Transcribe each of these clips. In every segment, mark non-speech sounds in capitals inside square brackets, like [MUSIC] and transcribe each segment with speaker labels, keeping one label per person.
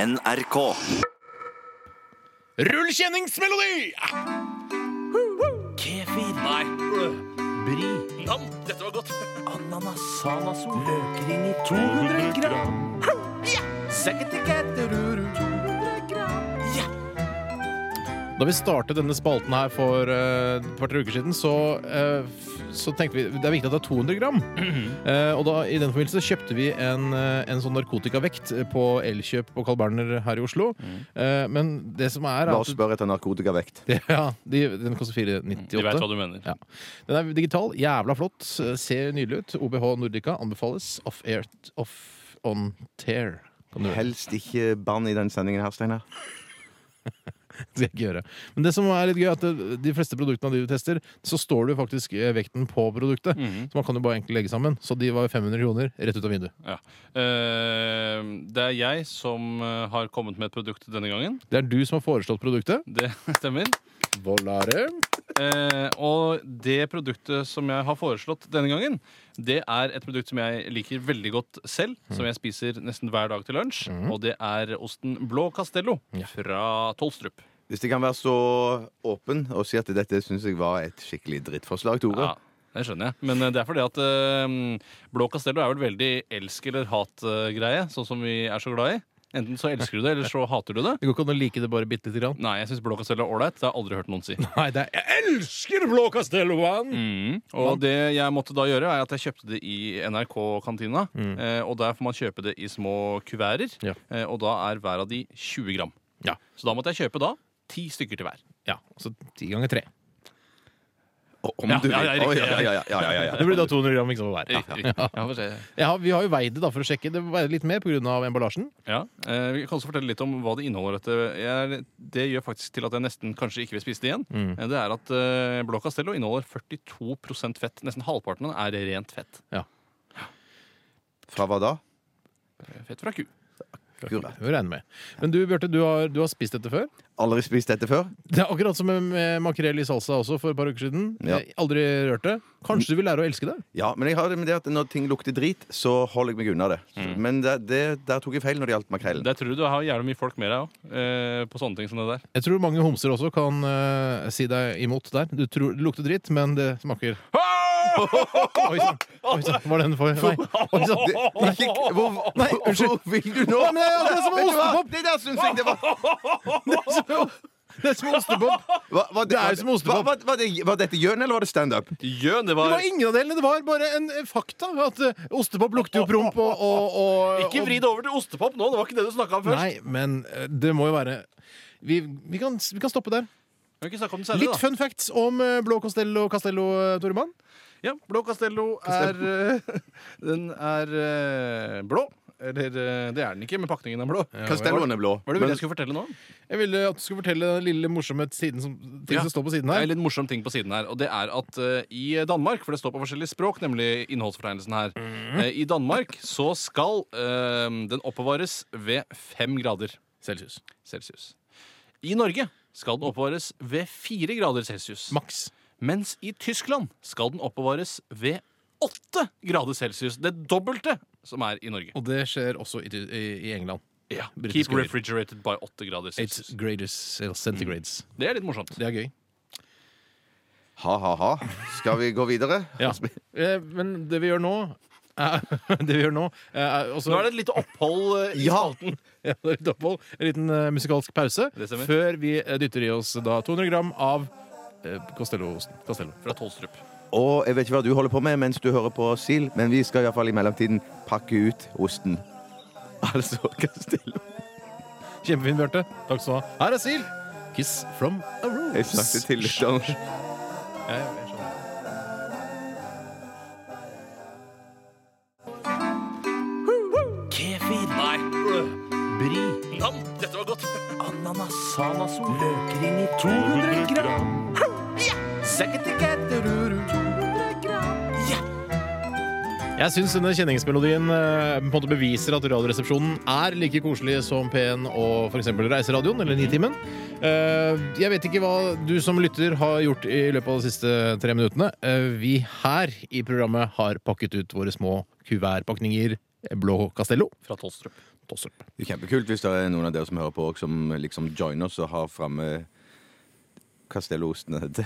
Speaker 1: NRK.
Speaker 2: Rullkjenningsmelodi!
Speaker 3: Kefir,
Speaker 2: Nei.
Speaker 3: bri,
Speaker 2: Nam, dette var godt.
Speaker 3: ananas, sanasol, løkring i 200 gram. Ja! Sekketiketteruru, 200 gram. Ja!
Speaker 4: Da vi startet denne spalten her for eh, et par-tre uker siden, så, eh, f- så tenkte vi det er viktig at det er 200 gram.
Speaker 2: Mhm.
Speaker 4: Eh, og da, i den forbindelse kjøpte vi en, eh, en sånn narkotikavekt på Elkjøp på Carl Berner her i Oslo.
Speaker 2: Mhm.
Speaker 4: Eh, men det som er, er
Speaker 5: Bare
Speaker 4: [LAUGHS] at
Speaker 5: spør etter narkotikavekt.
Speaker 4: ja, de, Den koster
Speaker 2: Du vet hva
Speaker 4: 498.
Speaker 2: du mener.
Speaker 4: Ja. Den er digital, jævla flott, s- ser nydelig ut. OBH Nordica anbefales. Off air off on tear. Kan du gjøre.
Speaker 5: Helst ikke bann i den sendingen her, Steinar.
Speaker 4: [LAUGHS] Det skal jeg ikke gjøre. Men det som er litt gøy, er at det- de fleste produktene de du tester, så står det jo faktisk eh, vekten på produktet. Så man kan jo bare egentlig legge sammen. Så de var 500 kroner rett ut av vinduet.
Speaker 2: Ja. Eh, det er jeg som eh, har kommet med et produkt denne gangen.
Speaker 4: Det er du som har foreslått produktet.
Speaker 2: Det [LAUGHS] stemmer.
Speaker 4: Volare.
Speaker 2: Eh, og det produktet som jeg har foreslått denne gangen, det er et produkt som jeg liker veldig godt selv,
Speaker 4: Mm.
Speaker 2: som jeg spiser nesten hver dag til lunsj, og det er osten Blå Castello
Speaker 4: Ja.
Speaker 2: fra Tolstrup.
Speaker 5: Hvis jeg kan være så åpen og si at dette syns jeg var et skikkelig drittforslag, Tore.
Speaker 2: Ja, det skjønner jeg. Men eh, det er fordi at eh, Blå Castello er vel veldig elsk eller hat-greie, sånn som vi er så glad i. Enten så elsker du det, eller så hater du det.
Speaker 4: Det går ikke an å like det bare bitte lite grann.
Speaker 2: Nei, jeg syns Blå Castello er ålreit. Det har jeg aldri hørt noen si.
Speaker 4: Nei, det er Jeg elsker blå Castelloan!
Speaker 2: Mm. Og det jeg måtte da gjøre, er at jeg kjøpte det i NRK-kantina. Eh, og der får man kjøpe det i små kuverter.
Speaker 4: Mm. Ja.
Speaker 2: Eh, og da er hver av de 20 gram.
Speaker 4: Ja.
Speaker 2: Så da måtte jeg kjøpe da ti stykker til hver.
Speaker 4: Ja, så ti ganger tre.
Speaker 5: Og Om
Speaker 2: Ja,
Speaker 5: du vil.
Speaker 2: ja, ja, riktig,
Speaker 5: Å, ja, ja, ja, ja, ja, ja.
Speaker 4: Det blir da 200 gram liksom hver. Ja.
Speaker 2: Riktig, riktig. Ja, får se.
Speaker 4: Ja, vi har jo veid det da for å sjekke. Det veide litt mer pga. emballasjen.
Speaker 2: Ja, eh, Vi kan også fortelle litt om hva det inneholder. Dette. Jeg, det gjør faktisk til at jeg nesten kanskje ikke vil spise det igjen.
Speaker 4: Mm.
Speaker 2: Eh, Det er at eh, Blå Castello inneholder 42 fett. Nesten halvparten av den er rent fett.
Speaker 5: Fra hva da?
Speaker 2: Fett fra ku.
Speaker 5: Akkurat.
Speaker 4: Det må vi regne med. Men du Bjarte, du har, du har spist dette før?
Speaker 5: Aldri spist dette før?
Speaker 4: Det er akkurat som med- med makrell i salsa også for et par uker siden.
Speaker 5: Ja.
Speaker 4: Jeg Aldri rørt det. Kanskje du vil lære å elske det?
Speaker 5: Ja, men jeg har det med det at når ting lukter drit, så holder jeg meg unna det. Men det, det, der tok jeg feil når det gjaldt makrellen.
Speaker 2: Der tror du du har jævlig mye folk med deg òg, eh, på sånne ting som det der.
Speaker 4: Jeg tror mange homser også kan eh, si deg imot der. Du tror det lukter dritt, men det
Speaker 2: [LAUGHS]
Speaker 4: smaker Oi
Speaker 2: sånn.
Speaker 4: sann! Oi, sann. Var den for Nei. Oi sann!
Speaker 5: Det, ikke, hvor,
Speaker 4: Nei, unnskyld.
Speaker 5: Hvor vil du nå?
Speaker 4: men det er det som er
Speaker 5: Vet du hva?
Speaker 4: ostepop.
Speaker 5: Det der syns jeg det var
Speaker 4: sånn. Det er som ostepop!
Speaker 5: Hva- hva-
Speaker 4: Det er som ostepop.
Speaker 5: Hva- hva- Var, det- var dette gjøn, eller var det standup?
Speaker 2: Jøn, det
Speaker 4: Det
Speaker 2: var
Speaker 4: var ingen av delene. Det var bare en eh, fakta. At eh, ostepop lukter jo promp og, og, og
Speaker 2: Ikke vri det over til ostepop nå! Det var ikke det du snakka om først.
Speaker 4: Nei, men eh, det må jo være vi, vi, kan, vi kan stoppe der.
Speaker 2: Vi kan ikke snakke om den senere,
Speaker 4: Litt
Speaker 2: da.
Speaker 4: fun facts om eh, Blå Costello Castello, eh, Toremann.
Speaker 2: Ja, blå Castello er eh, [LAUGHS] Den er eh, blå. Eller eh, det er den ikke, men pakningen er blå. Hva
Speaker 5: Castelloen er blå.
Speaker 2: var det du ville jeg skulle fortelle nå?
Speaker 4: Jeg ville at du skulle fortelle den lille morsomme siden som, ting
Speaker 2: Ja.
Speaker 4: som står på siden
Speaker 2: Det er
Speaker 4: her.
Speaker 2: litt morsom ting på siden her, og det er at eh, i Danmark, for det står på forskjellige språk, nemlig innholdsfortegnelsen her,
Speaker 4: Mhm.
Speaker 2: eh, i Danmark så skal eh, den oppbevares ved fem grader
Speaker 4: Celsius.
Speaker 2: celsius. I Norge skal den oppbevares ved fire grader celsius.
Speaker 4: Maks.
Speaker 2: Mens i Tyskland skal den oppbevares ved åtte grader celsius. Det dobbelte som er i Norge.
Speaker 4: Og det skjer også i, i, i England.
Speaker 2: Ja,
Speaker 4: britiske
Speaker 2: Keep
Speaker 4: øyer.
Speaker 2: refrigerated by åtte grader celsius.
Speaker 4: It's graders, eller centigrades.
Speaker 2: Det er litt morsomt.
Speaker 4: Mm. Det er gøy.
Speaker 5: Ha, ha, ha. Skal vi gå
Speaker 4: [LAUGHS]
Speaker 5: videre?
Speaker 4: Eh, Men det vi gjør nå er, [LAUGHS] det vi gjør nå, er også,
Speaker 2: Nå er det et lite opphold eh, i spalten.
Speaker 4: [LAUGHS] Ja, det er litt opphold, en liten eh, musikalsk pause
Speaker 2: Det stemmer.
Speaker 4: før vi eh, dytter i oss da 200 gram av eh, Costello-osten. Costello.
Speaker 2: Fra Tolstrup.
Speaker 5: Og jeg vet ikke hva du holder på med mens du hører på Sil, men vi skal iallfall i mellomtiden pakke ut osten. [LAUGHS] Altså Castello.
Speaker 4: Kjempefint, Bjarte. Takk skal du ha. Her er Sil. Kiss from a rose.
Speaker 5: Jeg snakket til lytteren.
Speaker 4: Ja, ja, jeg skjønner.
Speaker 3: Kefir,
Speaker 2: Nei.
Speaker 3: bri,
Speaker 2: Nam, dette var godt.
Speaker 3: ananas, sanasol, løkring i 200 gram. Ja! Sekketiketteruru, 200 gram. Ja!
Speaker 4: Jeg syns denne kjenningsmelodien eh, på en måte beviser at Radioresepsjonen er like koselig som P1 og f.eks. Reiseradioen eller Nitimen. Eh, jeg vet ikke hva du som lytter har gjort i løpet av de siste tre minuttene. Eh, vi her i programmet har pakket ut våre små kuvertpakninger eh, Blå Castello
Speaker 2: Fra Tolstrup.
Speaker 4: Tossep.
Speaker 5: Det er kjempekult hvis det er noen av dere som hører på, og som liksom joiner oss og har framme Castello-ostene [LAUGHS] til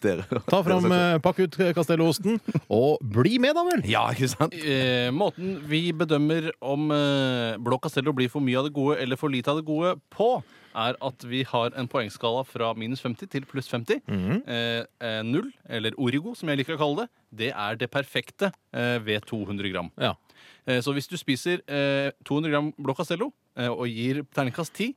Speaker 5: dere.
Speaker 4: Ta fram, eh, pakk ut Castello-osten, og bli med, da vel!
Speaker 5: Ja, ikke sant?
Speaker 2: Eh, måten vi bedømmer om eh, Blå Castello blir for mye av det gode eller for lite av det gode på, er at vi har en poengskala fra minus 50 til pluss 50.
Speaker 4: Mhm.
Speaker 2: eh, eh, null, eller origo, som jeg liker å kalle det, det er det perfekte eh, ved 200 gram.
Speaker 4: Ja.
Speaker 2: Eh, så hvis du spiser eh, 200 gram Blå Castello eh, og gir terningkast 10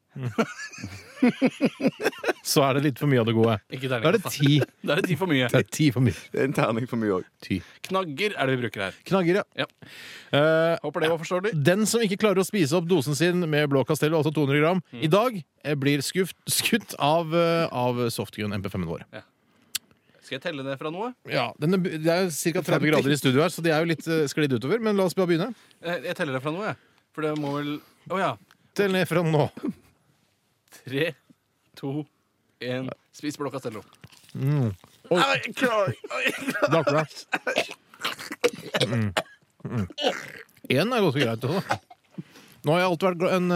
Speaker 4: Så er det litt for mye av det gode.
Speaker 2: Ikke
Speaker 4: Da er det
Speaker 2: terningkast,
Speaker 4: [LAUGHS] ti.
Speaker 2: da. Da er det 10 for mye.
Speaker 4: Det er ti for mye.
Speaker 5: Det er en terning for mye òg.
Speaker 4: Ti.
Speaker 2: Knagger er det vi bruker her.
Speaker 4: Knagger,
Speaker 2: Ja.
Speaker 4: Eh,
Speaker 2: Håper det var forståelig.
Speaker 4: den som ikke klarer å spise opp dosen sin med blå castello, altså 200 gram, i dag eh, blir skuft, skutt av, eh, av softgun MP5-en vår.
Speaker 2: Skal jeg telle ned fra noe?
Speaker 4: Ja, den er, Det er ca. 30 grader i studio her, så det er jo litt eh, sklidd utover. Men la oss bare begynne.
Speaker 2: Eh, jeg teller det fra noe, jeg. For det må vel Å ja.
Speaker 4: Tell ned fra nå.
Speaker 2: Tre, to, én. Spis blå castello.
Speaker 4: Bakbra. Én Mm. er ganske greit. Også. Nå har jeg alltid vært gla- en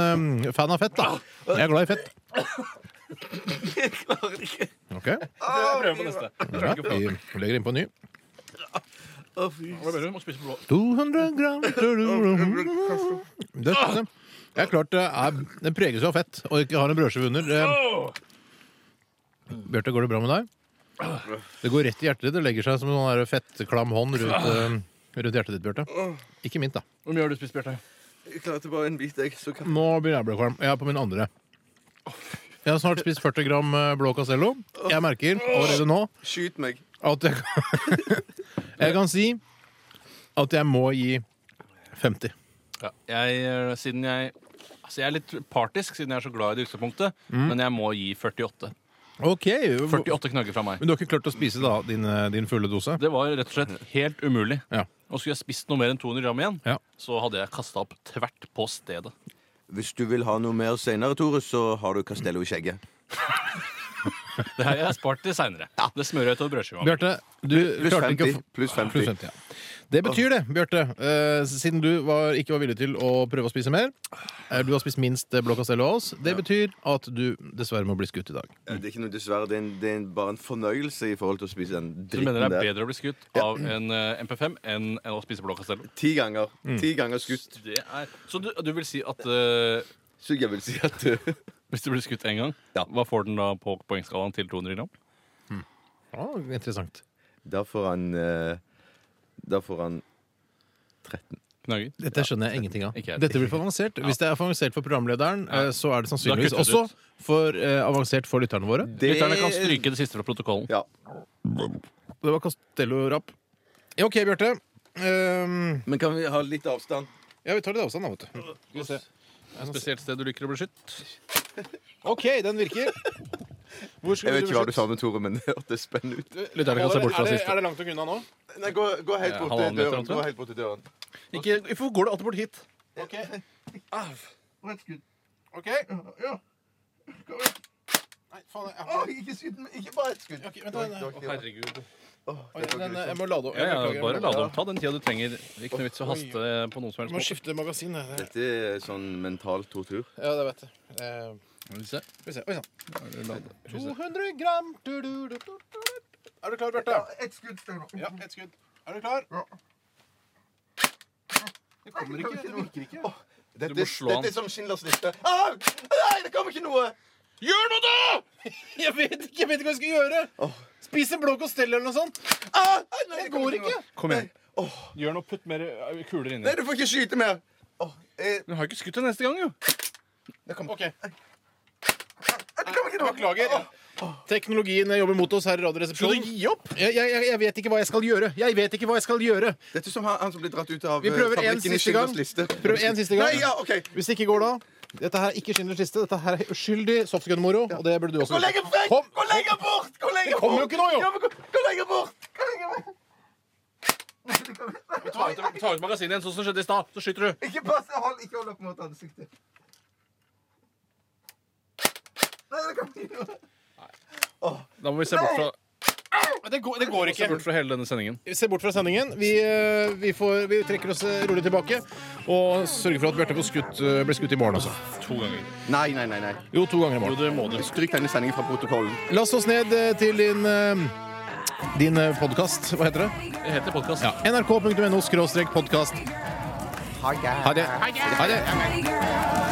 Speaker 4: eh, fan av fett. da Jeg er glad i fett. Ok,
Speaker 2: Prøv på neste.
Speaker 4: bra. Vi legger inn på en ny.
Speaker 2: Må spise blå.
Speaker 4: 200 [LAUGHS] gram Det det er klart det er Den preges jo av fett og ikke har en brødskive under. Det- Bjarte, går det bra med deg? Det går rett i hjertet ditt. Det legger seg som en sånn der fettklam hånd rundt, eh, rundt hjertet ditt, Bjarte. Ikke mitt, da.
Speaker 2: Hvor mye har du spist, Bjarte?
Speaker 5: Jeg klarte bare en bit, jeg. Så kan...
Speaker 4: Nå begynner jeg å bli kvalm. Jeg er på min andre. Jeg har snart spist 40 gram eh, blå Castello. Jeg merker allerede nå
Speaker 5: Skyt meg.
Speaker 4: at jeg kan, [LAUGHS] jeg kan si at jeg må gi 50.
Speaker 2: Ja. Jeg, eh, siden jeg Altså, jeg er litt partisk, siden jeg er så glad i det utgangspunktet, men jeg må gi 48.
Speaker 4: OK.
Speaker 2: 48 knagger fra meg.
Speaker 4: Men du har ikke klart å spise da, din, eh, din fulle dose?
Speaker 2: Det var rett og slett helt umulig.
Speaker 4: Ja.
Speaker 2: Og skulle jeg spist noe mer enn 200 gram igjen,
Speaker 4: Ja.
Speaker 2: så hadde jeg kasta opp tvert på stedet.
Speaker 5: Hvis du vil ha noe mer seinere, Tore, så har du Castello i skjegget.
Speaker 2: Det her har jeg spart til seinere. Det smører jeg utover brødskiva.
Speaker 4: Bjarte, du
Speaker 5: Pluss
Speaker 4: klarte ikke å
Speaker 5: 50.
Speaker 4: få
Speaker 5: Pluss 50.
Speaker 4: Pluss 50, ja. Det betyr det, Bjarte, eh, siden du var, ikke var villig til å prøve å spise mer. eh, Du har spist minst eh, blå castello av oss. Det betyr at du dessverre må bli skutt i dag.
Speaker 2: Mm.
Speaker 5: Eh, Det er ikke noe dessverre. Det er, en, det er en, bare en fornøyelse i forhold til å spise den
Speaker 2: Du
Speaker 5: dritten
Speaker 2: mener det er
Speaker 5: der.
Speaker 2: bedre å bli skutt av en eh, MP5 enn enn å spise blå castello?
Speaker 5: Ti ganger.
Speaker 2: Mm.
Speaker 5: Ti ganger skutt.
Speaker 2: Det er... Så du, du vil si at eh,
Speaker 5: Så jeg vil si at eh,
Speaker 2: hvis du blir skutt én gang,
Speaker 5: Ja.
Speaker 2: hva får den da på poengskalaen til 200 gram?
Speaker 4: Ja, interessant.
Speaker 5: Da får han eh, Da får han 13.
Speaker 2: Knagger?
Speaker 4: Dette skjønner jeg ingenting av.
Speaker 2: Ikke jeg.
Speaker 4: Dette blir for avansert. Hvis det er for avansert for programlederen, eh, så er det sannsynligvis
Speaker 2: Da kutter du
Speaker 4: også
Speaker 2: ut.
Speaker 4: for eh, avansert for lytterne våre.
Speaker 5: Det-
Speaker 2: Lytterne kan stryke det siste fra protokollen.
Speaker 5: Ja.
Speaker 4: Det var Castello Rapp. Ja, OK, Bjarte. Eh,
Speaker 5: Men kan vi ha litt avstand?
Speaker 4: ja, vi tar litt avstand, da, vet du. Skal vi se.
Speaker 2: Spesielt sted du liker å bli skutt.
Speaker 4: OK, den virker. Hvor skulle
Speaker 5: Jeg vet
Speaker 4: du
Speaker 5: ikke hva du
Speaker 4: beskytte-
Speaker 5: sa med Tore, men [LAUGHS] det hørtes spennende ut.
Speaker 2: Lytterne kan se bort fra
Speaker 4: er, det,
Speaker 2: siste.
Speaker 4: er det langt nok unna nå?
Speaker 5: Nei, gå, gå helt
Speaker 2: Eh,
Speaker 5: bort
Speaker 2: halvannen
Speaker 5: til
Speaker 2: meter
Speaker 5: døren.
Speaker 2: omtrent?
Speaker 5: Gå helt bort til døren.
Speaker 2: Ikke, hvorfor går du alltid bort hit?
Speaker 5: Rett skudd.
Speaker 4: OK.
Speaker 5: Ja.
Speaker 4: Nei, faen, jeg
Speaker 5: Å,
Speaker 4: har
Speaker 5: ikke skudd, men ikke bare ett skudd.
Speaker 4: Ok, vent da, vent da.
Speaker 5: Å, herregud. Å,
Speaker 4: Oi,
Speaker 5: det var
Speaker 4: den,
Speaker 5: grusomt.
Speaker 4: jeg må lade opp.
Speaker 2: Ja, ja,
Speaker 4: Jeg beklager,
Speaker 2: bare
Speaker 4: jeg må
Speaker 2: la
Speaker 4: lade
Speaker 2: det
Speaker 4: opp.
Speaker 2: om. Ta den tida du trenger. Ikke noe vits å haste på noen som
Speaker 4: Jeg må
Speaker 2: helst
Speaker 4: skifte magasin. jeg. Det-
Speaker 5: Dette er sånn mental tortur.
Speaker 4: Ja, det vet jeg. Eh,
Speaker 2: måte.
Speaker 4: Skal vi se. Oi sann. 200 gram du, du, du, du, du. Er du klar, Bjarte?
Speaker 5: Ett skudd står nå.
Speaker 4: Ja, ett skudd. Er du klar? Det kommer ikke. Det virker ikke.
Speaker 5: Dette,
Speaker 2: Du må slå han.
Speaker 5: dette er som Schindlers liste. Au! Nei, det kommer ikke noe!
Speaker 2: Gjør noe, da!
Speaker 4: [LAUGHS] Jeg vet ikke, jeg vet ikke hva jeg skal gjøre. Spis en blå costello eller noe sånt.
Speaker 5: Ah, nei,
Speaker 4: Det går
Speaker 5: kommer
Speaker 4: ikke.
Speaker 2: Kom igjen.
Speaker 5: Åh.
Speaker 2: Gjør noe, putt mer eh, kuler
Speaker 5: Nei,
Speaker 2: inni.
Speaker 5: du får ikke skyte mer. Åh, eh,
Speaker 2: Du har ikke skutt deg neste gang, jo.
Speaker 4: OK.
Speaker 5: det kommer ikke noe.
Speaker 4: Beklager. Teknologien jobber mot oss her i Radioresepsjonen.
Speaker 2: Skal du gi opp?
Speaker 4: Jeg, jeg, jeg- jeg vet ikke hva jeg skal gjøre. Jeg vet ikke hva jeg skal gjøre.
Speaker 5: Dette er som han, han som ble dratt ut av
Speaker 4: Vi
Speaker 5: eh,
Speaker 4: prøver en
Speaker 5: fabrikken i
Speaker 4: siste gang.
Speaker 5: Schindlers liste.
Speaker 4: Prøv en siste gang.
Speaker 5: Nei, ja, ok.
Speaker 4: Hvis det ikke går da Dette her er ikke Schindlers liste. Dette her er uskyldig softgun-moro. Og det burde du
Speaker 5: Gå
Speaker 4: også
Speaker 5: lenger vekk!
Speaker 4: Kom.
Speaker 5: Gå lenger bort! Gå lenger
Speaker 4: Det kommer jo
Speaker 5: bort!
Speaker 4: ikke nå, jo.
Speaker 5: Ja, men gå, gå lenger bort! Gå lenger bort!
Speaker 2: Ta ut, ta ut magasinet igjen, sånn som skjedde i stad. Så skyter du.
Speaker 5: Ikke pass, hold, ikke hold opp mot ansiktet. Nei, det kommer ikke noe.
Speaker 2: Da må vi se bort fra
Speaker 4: men det går, det går
Speaker 2: Se
Speaker 4: ikke.
Speaker 2: bort fra hele denne sendingen.
Speaker 4: Vi ser bort fra sendingen. Vi, eh, vi, får, vi trekker oss eh, rolig tilbake og sørger for at Bjarte får skutt, eh, blir skutt i morgen også.
Speaker 2: To ganger.
Speaker 5: Nei, nei, nei. nei.
Speaker 4: Jo, to ganger i morgen.
Speaker 2: Jo, det må du.
Speaker 5: Stryk denne sendingen fra protokollen.
Speaker 4: Last oss ned eh, til din eh, din podkast, hva heter det?
Speaker 2: Det heter podkast.
Speaker 4: Ja. NRK.no podkast.
Speaker 5: Ha det.
Speaker 4: Ha det. Ha det.
Speaker 1: Tiger.